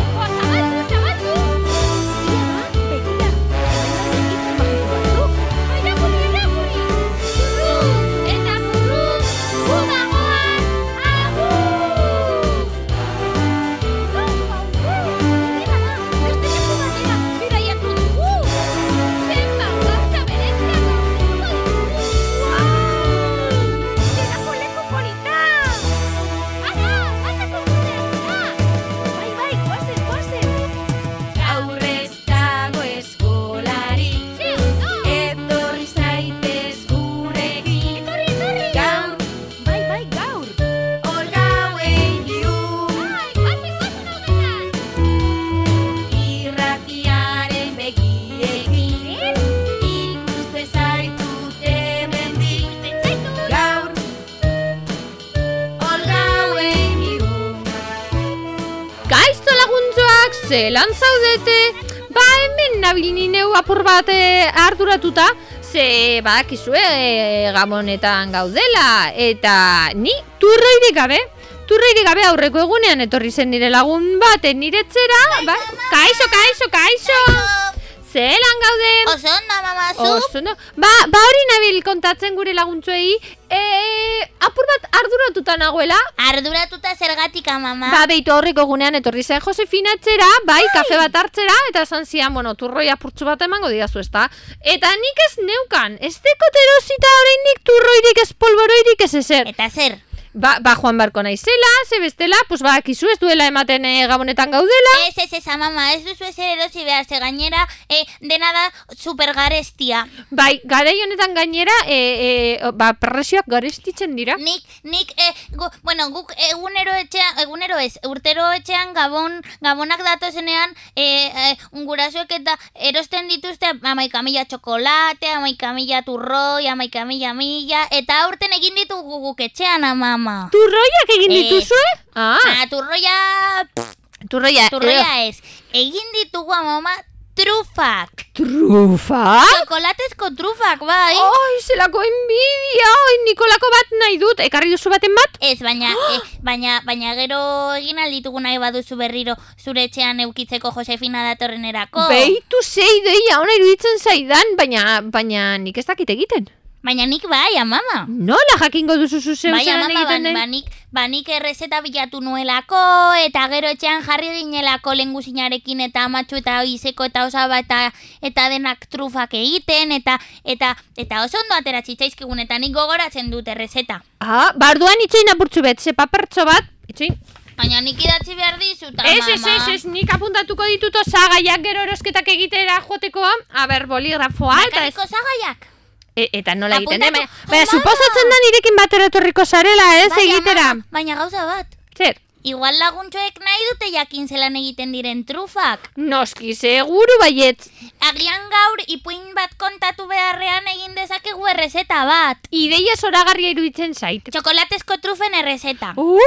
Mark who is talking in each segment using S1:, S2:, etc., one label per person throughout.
S1: Oh
S2: ze lan zaudete, ba hemen nabil ni neu apur bat eh, arduratuta, ze badakizue eh, gabonetan gaudela, eta ni turreirik gabe, turreirik gabe aurreko egunean etorri zen nire lagun baten niretzera, ba, kaixo, kaixo, kaixo, zelan gaude,
S1: Oso ondo, mama, zu?
S2: Oso, no? Ba, ba hori nabil kontatzen gure laguntzuei, e, apur bat arduratuta nagoela,
S1: Arduratuta zergatika, mama.
S2: Ba, beitu horriko gunean etorri zen Josefina etxera, bai, kafe bat hartzera, eta esan zian, bueno, turroi apurtxu bat emango didazu ezta. Eta nik ez neukan, ez dekot erosita oraindik turroirik ez polboroirik ez ezer.
S1: Eta zer?
S2: Ba, ba joan barko naizela, ze bestela, pues ba, kizu ez duela ematen eh, gabonetan gaudela.
S1: Ez, ez, ez, mama, ez duzu ezer erosi behar, ze gainera, e, dena da supergarestia.
S2: Bai, garei honetan gainera, e, e, ba, presioak garestitzen dira.
S1: Nik, nik, e, gu, eh, bueno, guk egunero etxean, egunero ez, urtero etxean gabon, gabonak datozenean, e, e, gurasoek eta erosten dituzte amaika mila txokolate, amaika mila turroi, amaika mila mila, eta aurten egin ditugu guk etxean, ama, ama.
S2: Turroiak egin
S1: Ez.
S2: dituzue? Ah,
S1: Eh. Ah, turroia,
S2: turroia, eh,
S1: turroia ez. Egin ditugu ama, ama, trufak.
S2: Ah. trufa?
S1: Txokolatezko trufak, bai.
S2: Ai, zelako enbidia, ai, nikolako bat nahi dut, ekarri duzu baten bat?
S1: Ez, baina, eh, baina, baina gero egin alditugu nahi baduzu berriro zure etxean eukitzeko Josefina datorrenerako.
S2: Beitu zei deia, ona iruditzen zaidan, baina, baina nik ez dakit egiten.
S1: Baina nik bai, amama.
S2: Nola jakingo duzu zuzeu
S1: Bai,
S2: zelan
S1: amama,
S2: egiten
S1: ban,
S2: den?
S1: banik, banik ba, errezeta bilatu nuelako, eta gero etxean jarri ginelako lenguzinarekin eta amatxu eta izeko eta osaba eta, eta denak trufak egiten, eta eta eta oso ondo atera zitzaizkigun, eta nik gogoratzen dut errezeta.
S2: Ah, barduan itxein apurtzu bet, ze papertxo bat, itxein.
S1: Baina nik idatzi behar dizut, amama.
S2: Ez, ez, ez, ez, nik apuntatuko ditut osagaiak gero erosketak egitera joateko, aber boligrafoa, eta ez,
S1: Bakarrik osagaiak?
S2: e- eta nola egiten den,
S1: Apuntatu-
S2: baina, baina
S1: Amama!
S2: suposatzen da nirekin batera etorriko zarela, ez,
S1: Bai,
S2: egitera.
S1: amama, Baina gauza bat.
S2: Zer?
S1: Igual laguntxoek nahi dute jakin zelan egiten diren trufak.
S2: Noski, seguru baietz.
S1: Agian gaur ipuin bat kontatu beharrean egin dezakegu errezeta bat.
S2: Ideia zoragarria iruditzen zait.
S1: Txokolatezko trufen errezeta.
S2: Uh,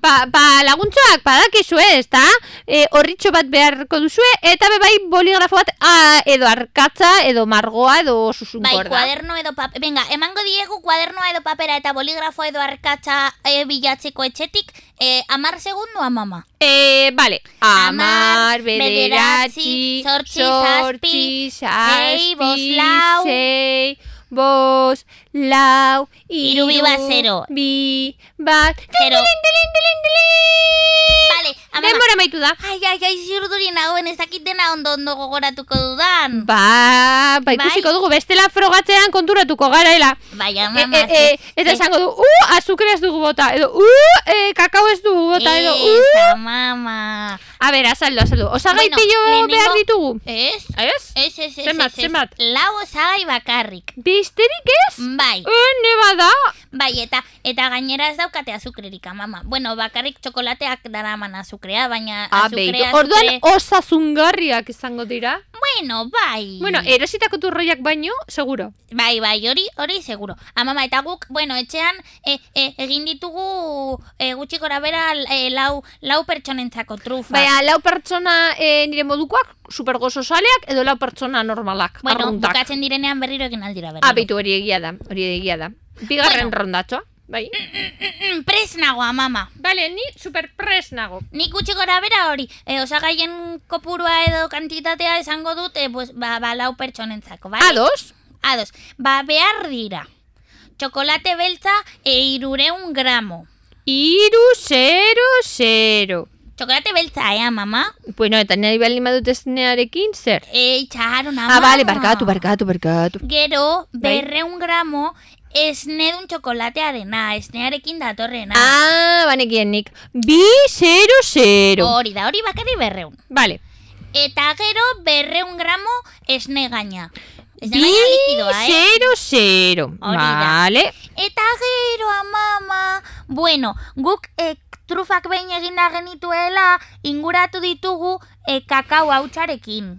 S2: ba, ba laguntzoak badakizue, ezta? E, horritxo bat beharko duzue, eta bebai boligrafo bat a, edo arkatza, edo margoa, edo
S1: Bai,
S2: susunkorda.
S1: kuaderno edo papera. Venga, emango diegu kuadernoa edo papera eta boligrafo edo arkatza e, bilatzeko etxetik e, amar segundu amama.
S2: E, bale, amar,
S1: Hamar,
S2: bederatzi,
S1: bederatzi, zortzi,
S2: sortzi,
S1: sei, bost,
S2: zazpi,
S1: lau.
S2: sei, bost, lau,
S1: Hiru, bi, bat, zero.
S2: bi, bat,
S1: Zero.
S2: Tilin, tilin, tilin, tilin.
S1: Vale, amama.
S2: Denbora maitu da.
S1: Ai, ai, ai, ziurduri nagoen ez dakit dena ondo ondo gogoratuko dudan.
S2: Ba, ba ikusiko
S1: Bai.
S2: dugu, bestela frogatzean konturatuko garaela.
S1: Bai,
S2: E,
S1: amama.
S2: e, e, eta
S1: ze-
S2: esango du, uh, azukre ez dugu bota, edo, uh, e, kakao ez dugu bota, edo, uh.
S1: Ez, amama.
S2: A ber, azaldu, azaldu. Osagai
S1: Bueno,
S2: pilo
S1: lehenengo-
S2: behar ditugu. Eh,
S1: Ez?
S2: Ez?
S1: Ez, ez, ez,
S2: Zenbat,
S1: ez, ez.
S2: zenbat?
S1: Lau osagai bakarrik.
S2: Besterik ez?
S1: Bai,
S2: E, neba da.
S1: bai, eta eta gainera ez daukate azukrerik, mama. Bueno, bakarrik txokolateak daraman azukrea, baina
S2: A,
S1: azukrea,
S2: beitu. Ah, Orduan osasungarriak izango dira.
S1: Bueno, bai.
S2: Bueno, e- erositako turroiak baino, seguro.
S1: Bai, bai, hori, hori seguro. Amama, eta guk, bueno, etxean e, e, egin ditugu e, gutxi gora bera e, lau, lau pertsonentzako trufa.
S2: Baina, lau pertsona eh, nire modukoak, supergozo saleak, edo lau pertsona normalak,
S1: bueno,
S2: arruntak.
S1: bukatzen direnean berriro egin aldira berriro.
S2: Abitu hori egia da, hori egia da.
S1: Bueno.
S2: Bigarren rondatxoa, bai.
S1: Mm, Prest nago, amama.
S2: Bale, ni superpres nago.
S1: Nik gutxi gora bera hori, e, osagaien kopurua edo kantitatea esango dut, e, pues, ba, ba, lau pertsonentzako, bai?
S2: Ados?
S1: Ados. Ba, behar dira. Txokolate beltza e irureun gramo.
S2: Iru, zero, zero.
S1: Txokolate beltza, ea, mama?
S2: Bueno, eta nahi bali madut esnearekin zer?
S1: E, itxaron, ama.
S2: Ah, bale, barkatu, barkatu, barkatu.
S1: Gero,
S2: Bai.
S1: berreun gramo esnedun txokolatearena, esnearekin datorrena.
S2: Ah, banekien nik. Bi, zero, zero.
S1: Hori da, hori bakarri berreun.
S2: Bale.
S1: Eta gero, berreun gramo esnegaina.
S2: Bi,
S1: Esnegaina likidoa, eh?
S2: zero, zero.
S1: Hori da.
S2: Bale.
S1: Eta gero, mama, bueno, guk eh, trufak behin eginda genituela inguratu ditugu eh, kakao hautsarekin.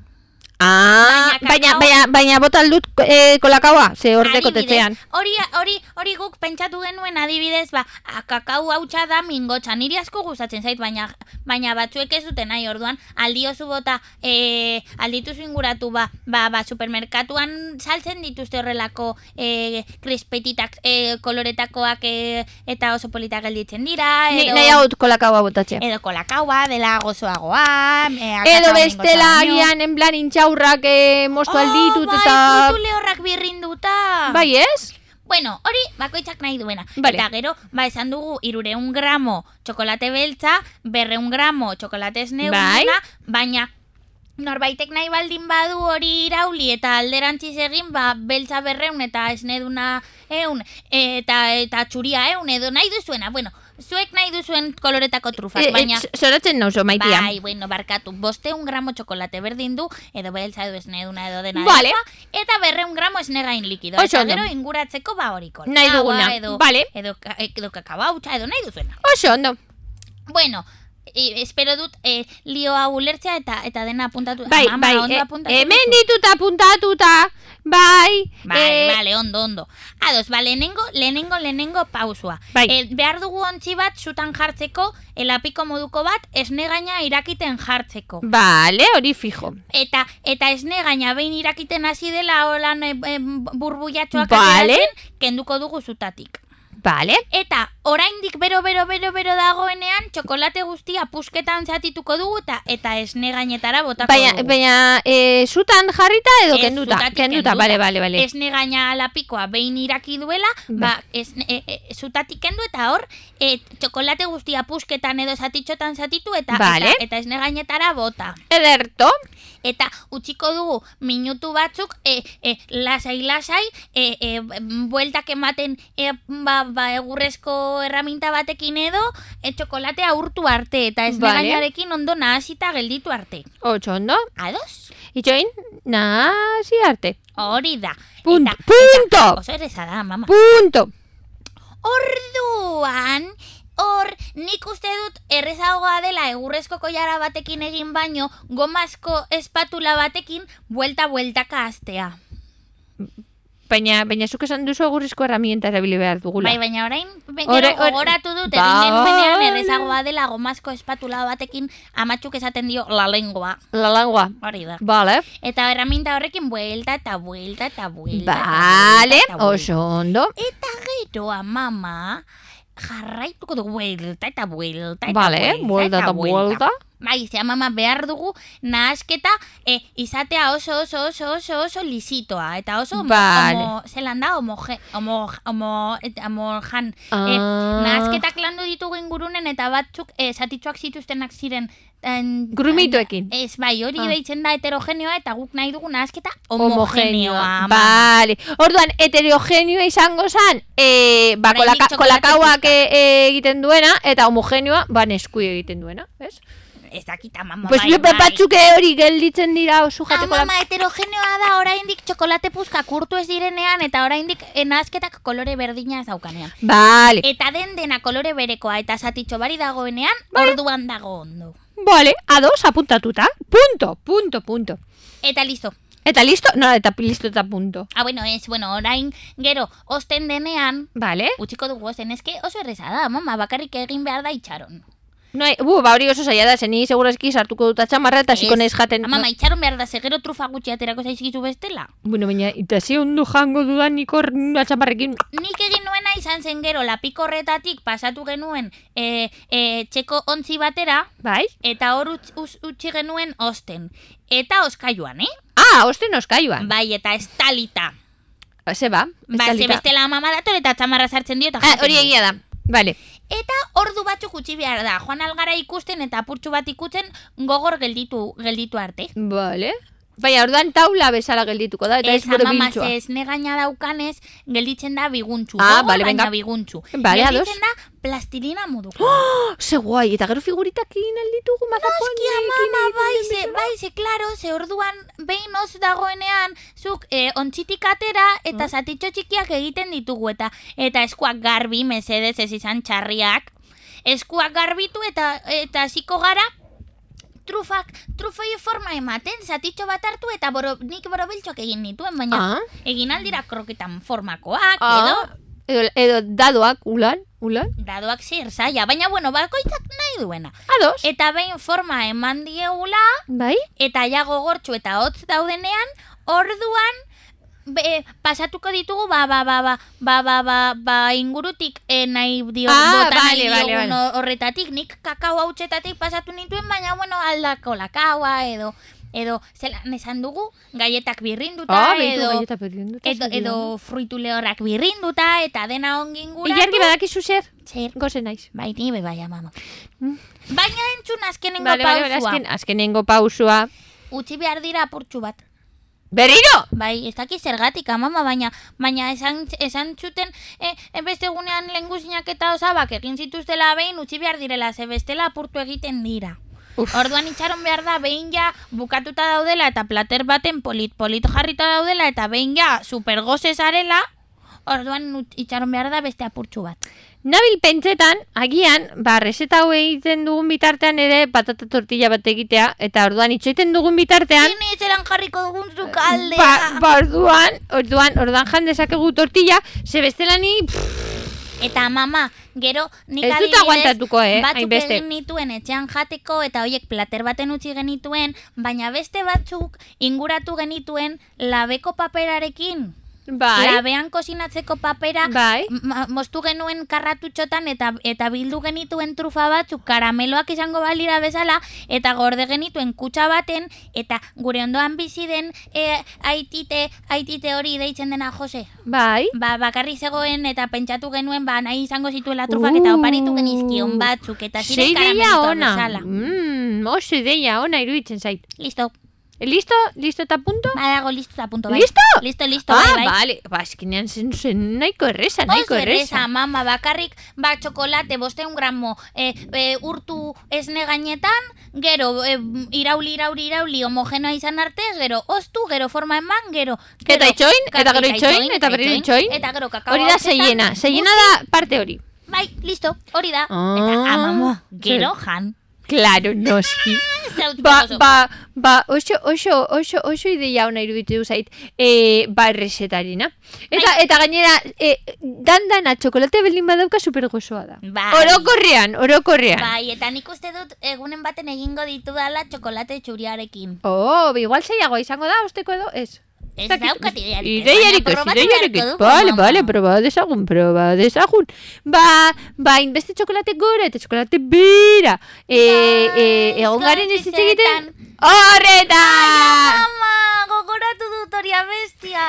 S2: Ah, baina,
S1: Baina kakao-
S2: baina, baina bota aldut e, kolakaua, ze hor dekotetxean.
S1: Hori, hori, hori guk pentsatu genuen adibidez, ba, a, kakau hautsa da mingotxa. Niri asko gustatzen zait, baina baina batzuek ez duten nahi orduan, aldiozu bota, e, aldituzu inguratu, ba, ba, ba supermerkatuan saltzen dituzte horrelako e, krispetitak, e, koloretakoak e, eta oso politak gelditzen dira,
S2: Ni
S1: edo,
S2: nahi hau kolakaua botatzea.
S1: edo kolakaua, dela gozoagoa, e,
S2: Edo
S1: kakao
S2: bestela
S1: mingotxa baino.
S2: agian en plan intxaurrak e, mostu alditut
S1: oh,
S2: eta...
S1: bai, frutu lehorrak birrinduta.
S2: Bai ez?
S1: Bueno, hori bakoitzak nahi duena.
S2: Bale.
S1: Eta gero, ba esan dugu irureun gramo txokolate beltza, berreun gramo txokolate
S2: Bai.
S1: esneuna, baina norbaitek nahi baldin badu hori irauli eta alderantziz egin, ba beltza berreun eta esneduna eun, eta, eta txuria eun, edo nahi duzuena. Bueno, zuek nahi duzuen koloretako trufak,
S2: E, e,
S1: baina...
S2: s- Zoratzen nauzo maitia.
S1: Bai, bueno, barkatu, bosteun gramo txokolate berdin du, edo beltza edo esneduna edo dena
S2: Vale.
S1: dena, eta berreun gramo esnegain likido.
S2: Oso
S1: Eta
S2: ondo.
S1: gero inguratzeko ba hori kolakaua,
S2: Nahi duguna,
S1: edo,
S2: vale.
S1: edo, ka- eh, edo kakabautza, edo nahi duzuena.
S2: Oso, ondo.
S1: Bueno, e, espero dut eh, lio hau ulertzea eta eta dena apuntatu.
S2: Bai,
S1: Ama,
S2: bai,
S1: ondo
S2: e,
S1: apuntatu
S2: hemen
S1: duzu?
S2: dituta apuntatuta, bai,
S1: Bai,
S2: eh,
S1: vale, ondo, ondo. Ados, ba, lehenengo, lehenengo, lehenengo pausua.
S2: Bai.
S1: Eh, behar dugu ontzi bat zutan jartzeko, elapiko moduko bat, esnegaina irakiten jartzeko.
S2: vale, hori fijo.
S1: Eta eta esne gaina behin irakiten hasi dela holan e, e, burbuiatxoak
S2: Vale.
S1: ateratzen, kenduko dugu zutatik.
S2: Vale,
S1: Eta oraindik bero bero bero bero dagoenean txokolate guztia pusketan zatituko dugu eta eta esne gainetara botako
S2: baina,
S1: dugu.
S2: baina eh, zutan jarrita edo
S1: Ez,
S2: kenduta,
S1: zutatik
S2: kenduta, vale, vale, vale.
S1: Esne gaina lapikoa behin iraki duela, ba, esne, e, e, zutatik kendu eta hor e, txokolate guztia pusketan edo zatitxotan zatitu eta,
S2: Vale.
S1: eta, eta esne gainetara bota.
S2: Ederto,
S1: Eta utziko dugu minutu batzuk e, e, lasai lasai e, e, m, bueltak ematen e, ba, ba, egurrezko erraminta batekin edo e, txokolatea urtu arte eta ez
S2: Vale.
S1: ondo nahasita gelditu arte.
S2: oso ondo.
S1: Ados?
S2: Itxoin, nazi arte.
S1: Hori da.
S2: Punto,
S1: Eta-
S2: punto,
S1: Oso erreza da, mama.
S2: punto.
S1: Orduan, hor, nik uste dut errezagoa dela egurrezko koilara batekin egin baino gomazko espatula batekin buelta-bueltaka astea.
S2: Baina, baina zuk esan duzu agurrizko herramienta erabili behar dugula.
S1: Bai, baina orain be- gero
S2: Ore- ore-
S1: gogoratu dut egin
S2: Vale.
S1: genuenean errezagoa dela gomazko espatula batekin amatxuk esaten dio la lengua.
S2: La langua.
S1: Hori da.
S2: Vale,
S1: Eta erraminta horrekin buelta eta buelta eta buelta. eta
S2: vale,
S1: buelta eta
S2: oso ondo.
S1: buelta. Geroa, mama, jarraituko dugu buelta eta buelta eta
S2: Vale, buelta eta buelta.
S1: Bai, zea mama behar dugu nahasketa eh, izatea oso oso oso oso oso lisitoa eta oso homo,
S2: Vale.
S1: homo zelan da homo, homo, homo, homo jan Eh,
S2: Ah.
S1: Nahazketak landu ditugu ingurunen eta batzuk eh, zatitxoak zituztenak ziren. en-
S2: Grumituekin.
S1: Ez, bai, hori
S2: Ah.
S1: deitzen da heterogeneoa eta guk nahi dugu nahazketa homogeneoa.
S2: homogeneoa. Vale. Orduan, heterogeneoa izango zan, eh, ba,
S1: Oraindik
S2: kolaka,
S1: txokolate
S2: kolakauak
S1: pixka.
S2: eh, eh, egiten duena, eta homogeneoa, ba, neskui egiten duena, ez?
S1: Ez dakita, mama,
S2: Pues
S1: bai,
S2: lepe
S1: bai.
S2: batzuk eh, hori gelditzen dira oso
S1: Ah,
S2: jateko
S1: mama, heterogeneoa da oraindik txokolate puzka kurtu ez direnean eta oraindik eh, nahazketak kolore berdina ez daukanean.
S2: Vale,
S1: Eta den dena kolore berekoa eta zatitxo bari dagoenean,
S2: Bai.
S1: orduan dago ondo.
S2: vale, ados apuntatuta. Punto, punto, punto.
S1: Eta listo.
S2: Eta listo? No, eta listo eta punto.
S1: Ah, bueno, ez, bueno, orain, gero, osten denean,
S2: Vale.
S1: utziko dugu ozen, eske oso erreza da, mama, bakarrik egin behar da itxaron.
S2: No, hay- bu, ba hori oso zaila da, zeni segurazki sartuko dut atxamarra eta ziko
S1: Ez.
S2: naiz jaten.
S1: Mama, itxaron behar da, ze gero trufa gutxi aterako zaizkizu bestela.
S2: Bueno, baina, eta ze ondo jango dudan niko atxamarrekin.
S1: Nik egin nuena izan zen gero, lapiko horretatik pasatu genuen e, e, txeko ontzi batera,
S2: Bai?
S1: eta hor utz- uz- utzi genuen osten. Eta oskailuan, eh?
S2: Ah, osten oskaiuan.
S1: Bai, eta estalita.
S2: Ze ba,
S1: Ba, ze
S2: estalita.
S1: bestela mama dator eta txamarra sartzen dio eta
S2: Ah,
S1: jaten
S2: hori
S1: du.
S2: egia da. Vale.
S1: Eta ordu batzuk utzi behar da, joan algara ikusten eta apurtxu bat ikutzen gogor gelditu, gelditu arte.
S2: Vale. Baina orduan taula bezala geldituko da, eta ez
S1: Ez
S2: bero
S1: amama
S2: biltxua.
S1: ze esnegaina daukanez, gelditzen da biguntxu.
S2: Ah,
S1: Gogor,
S2: bale,
S1: baina
S2: venga.
S1: biguntxu.
S2: Bale, ados.
S1: gelditzen da plastilina moduko.
S2: Oh, Ze guai, eta gero figuritakin alditugu mazaponekin.
S1: mama, bai, ze, bai, ze, klaro, ze orduan behin oz dagoenean, zuk eh, ontzitik atera
S2: ¿Mm?
S1: eta zatitxo txikiak egiten ditugu eta eta eskuak garbi, mesedez ez izan txarriak. Eskuak garbitu eta eta hasiko gara trufak, trufei forma ematen, zatitxo bat hartu eta boro, nik borobiltzok egin nituen, baina
S2: Ah,
S1: egin aldira kroketan formakoak, edo
S2: ah, edo, edo dadoak, ulan, ulan.
S1: dadoak zir zaila, baina bueno, bakoitzak nahi duena.
S2: Ados,
S1: Eta behin forma eman diegula,
S2: bai?
S1: eta ja gogortxu eta hotz daudenean, orduan be, pasatuko ditugu ba ba ba ba ba ba ba, ba ingurutik eh, nahi dio
S2: Ah,
S1: bota nahi
S2: vale, vale,
S1: diogun
S2: vale.
S1: hor- horretatik nik kakao hautsetatik pasatu nituen baina bueno aldako lakaua edo edo zelan esan dugu galletak birrinduta
S2: Ah, beitu
S1: edo,
S2: galleta perdinduta.
S1: edo edo fruitu lehorrak birrinduta eta dena ongi inguratu
S2: Ilargi badakizu zer,
S1: Zer,
S2: goze naiz.
S1: bai ni be bai amamo
S2: Mm.
S1: baina entzun azkenengo
S2: Vale, vale, vale,
S1: pausua.
S2: azken, azkenengo pausua.
S1: utzi behar dira apurtxu bat
S2: Berriro!
S1: Bai, ez dakit zergatik, amama, baina, baina esan, esan txuten e, e, beste gunean lenguzinak eta osabak egin zituztela behin utzi behar direla, ze bestela apurtu egiten dira.
S2: Uf.
S1: Orduan itxaron behar da behin ja bukatuta daudela eta plater baten polit polit jarrita daudela eta behin ja supergozez arela, orduan ut- itxaron behar da beste apurtxu bat.
S2: Nabil pentsetan, agian, ba, reseta hau egiten dugun bitartean ere patata tortilla bat egitea, eta orduan itxoiten dugun bitartean,
S1: Zine zelan jarriko dugun zukaldea.
S2: ba, ba orduan, orduan, orduan jan dezakegu tortilla, ze bestela ni, pff,
S1: Eta mama, gero nik
S2: Ez dut
S1: adibidez,
S2: aguantatuko, eh,
S1: batzuk
S2: hainbeste.
S1: egin nituen etxean jateko eta hoiek plater baten utzi genituen, baina beste batzuk inguratu genituen labeko paperarekin.
S2: bai,
S1: Labean kosinatzeko papera
S2: bai,
S1: ma- moztu genuen karratutxotan eta, eta bildu genituen trufa batzuk karameloak izango balira bezala eta gorde genituen kutsa baten eta gure ondoan bizi den eh, aitite, aitite hori deitzen dena Jose.
S2: bai.
S1: Ba, bakarri zegoen eta pentsatu genuen ba nahi izango zituela trufak eta
S2: Uh.
S1: oparitu genizkion batzuk eta
S2: Sei
S1: ziren
S2: deia
S1: karamelitoa
S2: ona,
S1: bezala.
S2: mm, oso ideia ona iruditzen zait. Eh,
S1: Listo,
S2: Listo, listo eta punto?
S1: badago listo punto bai.
S2: Listo?
S1: Listo, listo,
S2: Ah,
S1: bai, bai.
S2: bale, ba, eskenean zen zen nahiko erresa,
S1: Oso
S2: nahiko
S1: erreza,
S2: erresa.
S1: mama, bakarrik, ba, txokolate, bosteun gramo, e, e, urtu esne gainetan, gero, e, irauli, irauli, irauli, homogenoa izan arte, gero, ostu, gero forma eman, gero, gero
S2: Eta itxoin, eta gero
S1: kakao
S2: itxoin, eta berriro itxoin.
S1: Eta gero kakao
S2: Hori da
S1: hautetan,
S2: seiena, seiena da parte hori.
S1: Bai, listo, hori da.
S2: Ah,
S1: eta amamo,
S2: zer.
S1: gero jan.
S2: Claro, noski.
S1: Zautzu
S2: Ba,
S1: oso.
S2: ba, ba, oso, oso, oso, oso ideia ona iruditu zait, e, ba, errezetarina. Eta, eta gainera, e, dandana txokolate belin badauka supergozoa da.
S1: Bai.
S2: Orokorrean, orokorrean.
S1: Bai, eta nik uste dut eh, egunen baten egingo ditudala txokolate txuriarekin.
S2: Oh, ba, igual saiagoa izango da, osteko edo, ez.
S1: Ez
S2: dakit.
S1: daukat idearik. ez,
S2: Ideiarik,
S1: baina
S2: ez,
S1: probatu
S2: ideiarik,
S1: beharko
S2: ez.
S1: dugu,
S2: Bale,
S1: mama.
S2: bale, proba dezagun, proba dezagun. Ba, ba, inbeste txokolate gora eta txokolate bera. E,
S1: Bai,
S2: e, egon garen ez hitz egiten. Bai,
S1: goizetan.
S2: Horreta!
S1: Ama, gogoratu dut hori abestia.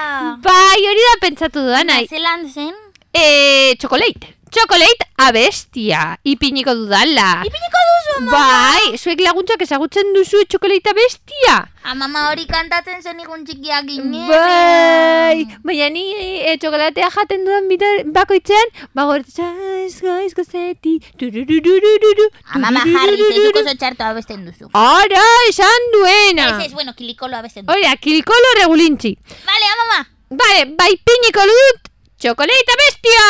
S2: Bai, hori da pentsatu dudana.
S1: Zelan zen? Eh,
S2: E, txokolate. Txokolate abestia. Ipiniko dudala.
S1: Ipiniko duzu, ama.
S2: Bai, zuek laguntzak ezagutzen duzu txokolate bestia.
S1: Amama hori kantatzen zen igun txikia ginen.
S2: Bai, baina ni e, txokolatea jaten dudan bitar bakoitzean, ba gortzatza izgo izgo zeti, tururururururu,
S1: Amama jarri, zezuk
S2: turururururu.
S1: oso txarto abesten duzu.
S2: Ara, esan duena.
S1: Ez, ez, bueno, kilikolo abesten duzu.
S2: Hori, kilkolo regulintzi.
S1: Vale, amama.
S2: Bale, bai piniko dut, txokolate bestia!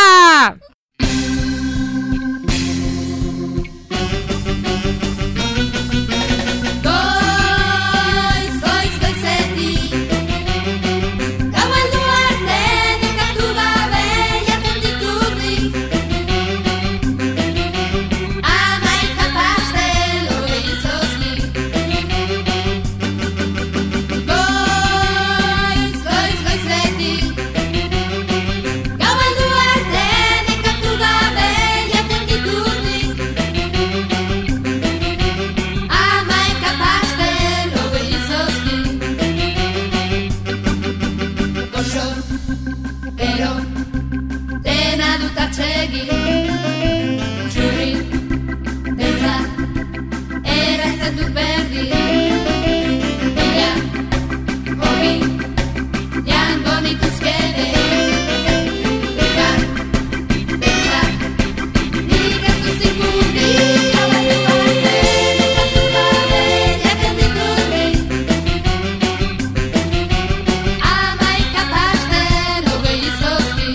S3: Goiz, goiz, goizetik Gaualdu arte nekatu gabe jatundik urdik Amaika pastel hori zoznik Goiz, goiz, goizetik Gaualdu arte nekatu gabe jatundik urdik Amaika pastel hogei zozki Goxo, ero, dena dut atsegi Txurri, beltza, erazten dut berdi Bila, hobi, jango nituzkede Bila, beltza, Nik ez dut ikunik, gaualdu arte, nekatu gabe, jaten ditut nik Amaika pasten, hogei izozki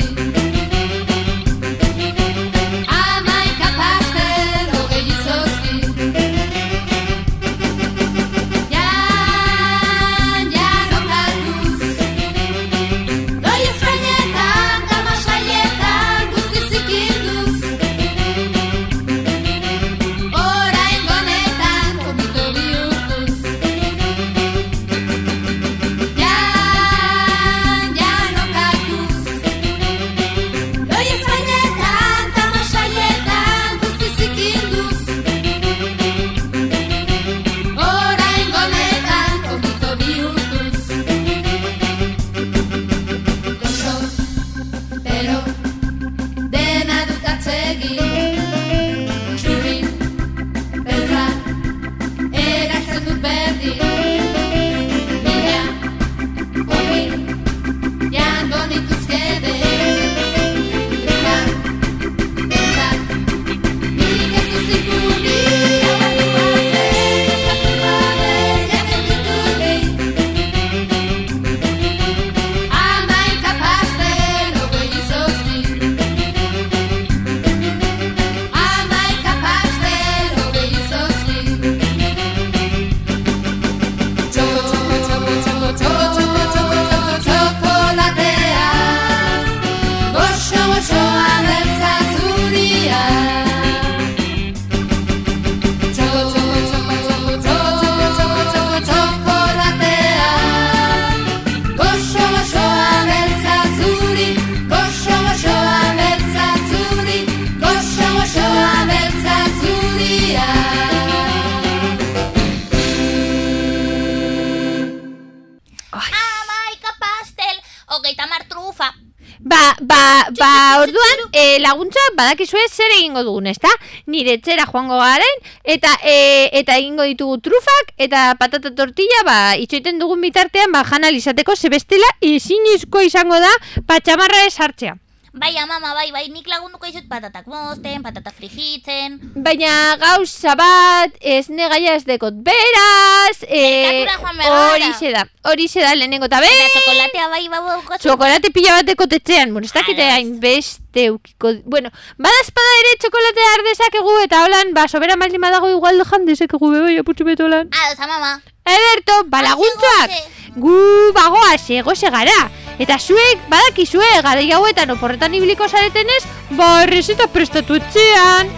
S2: Ba, ba, ba, orduan, eh, laguntza badakizue zer egingo dugun, ezta? Nire etxera joango garen, eta eh, eta egingo ditugu trufak, eta patata tortilla, ba, itxoiten dugun bitartean, ba, jana izateko, ze bestela ezinezkoa izango da, patxamarra esartzea.
S1: Bai, amama, bai, bai, nik lagunduko izut patatak mozten, patata frijitzen...
S2: Baina gauza bat, ez negaia ez dekot beraz, eh,
S1: Merkatura joan behar gara.
S2: horixe da, horixe da lehenengo eta behin.
S1: Eta txokolatea bai, bai, bai,
S2: Txokolate pila bateko tetxean, bueno, ez dakite
S1: Alas.
S2: hainbeste ukiko... Bueno, bada espada ere txokolate har dezakegu eta holan, ba, soberan baldin badago igual jan dezakegu beboi apurtxu beto holan.
S1: Ados, amama.
S2: Ederto, balaguntzak, gu bagoaz egoze gara. Eta zuek, badakizue, gara hauetan oporretan ibiliko zaretenez, ba, errezeta prestatu etxean.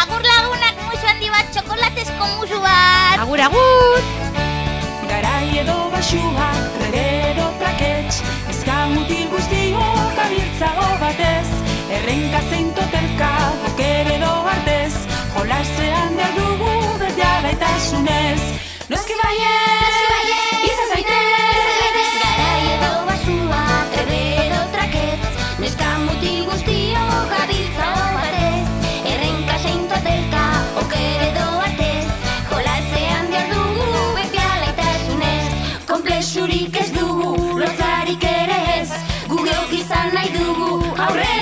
S1: Agur lagunak musu handi bat, txokolatezko musu bat.
S2: Agur, agur!
S4: Garai edo basua, rege edo trakets Ezka mutil guztiok abiltzago batez Errenka zein totelka, boker edo artez Jolasean behar dugu berdea gaitasunez Noski baiet, izan zaitez
S3: Garai edo basua, trebe edo traketz Neska mutil guztio gabiltza batez Errenka zein totelka, oker edo artez Jolasean behar dugu beti alaitasunez Komplexurik ez dugu, lotzarik ere ez Gu geuk izan nahi dugu, aurrera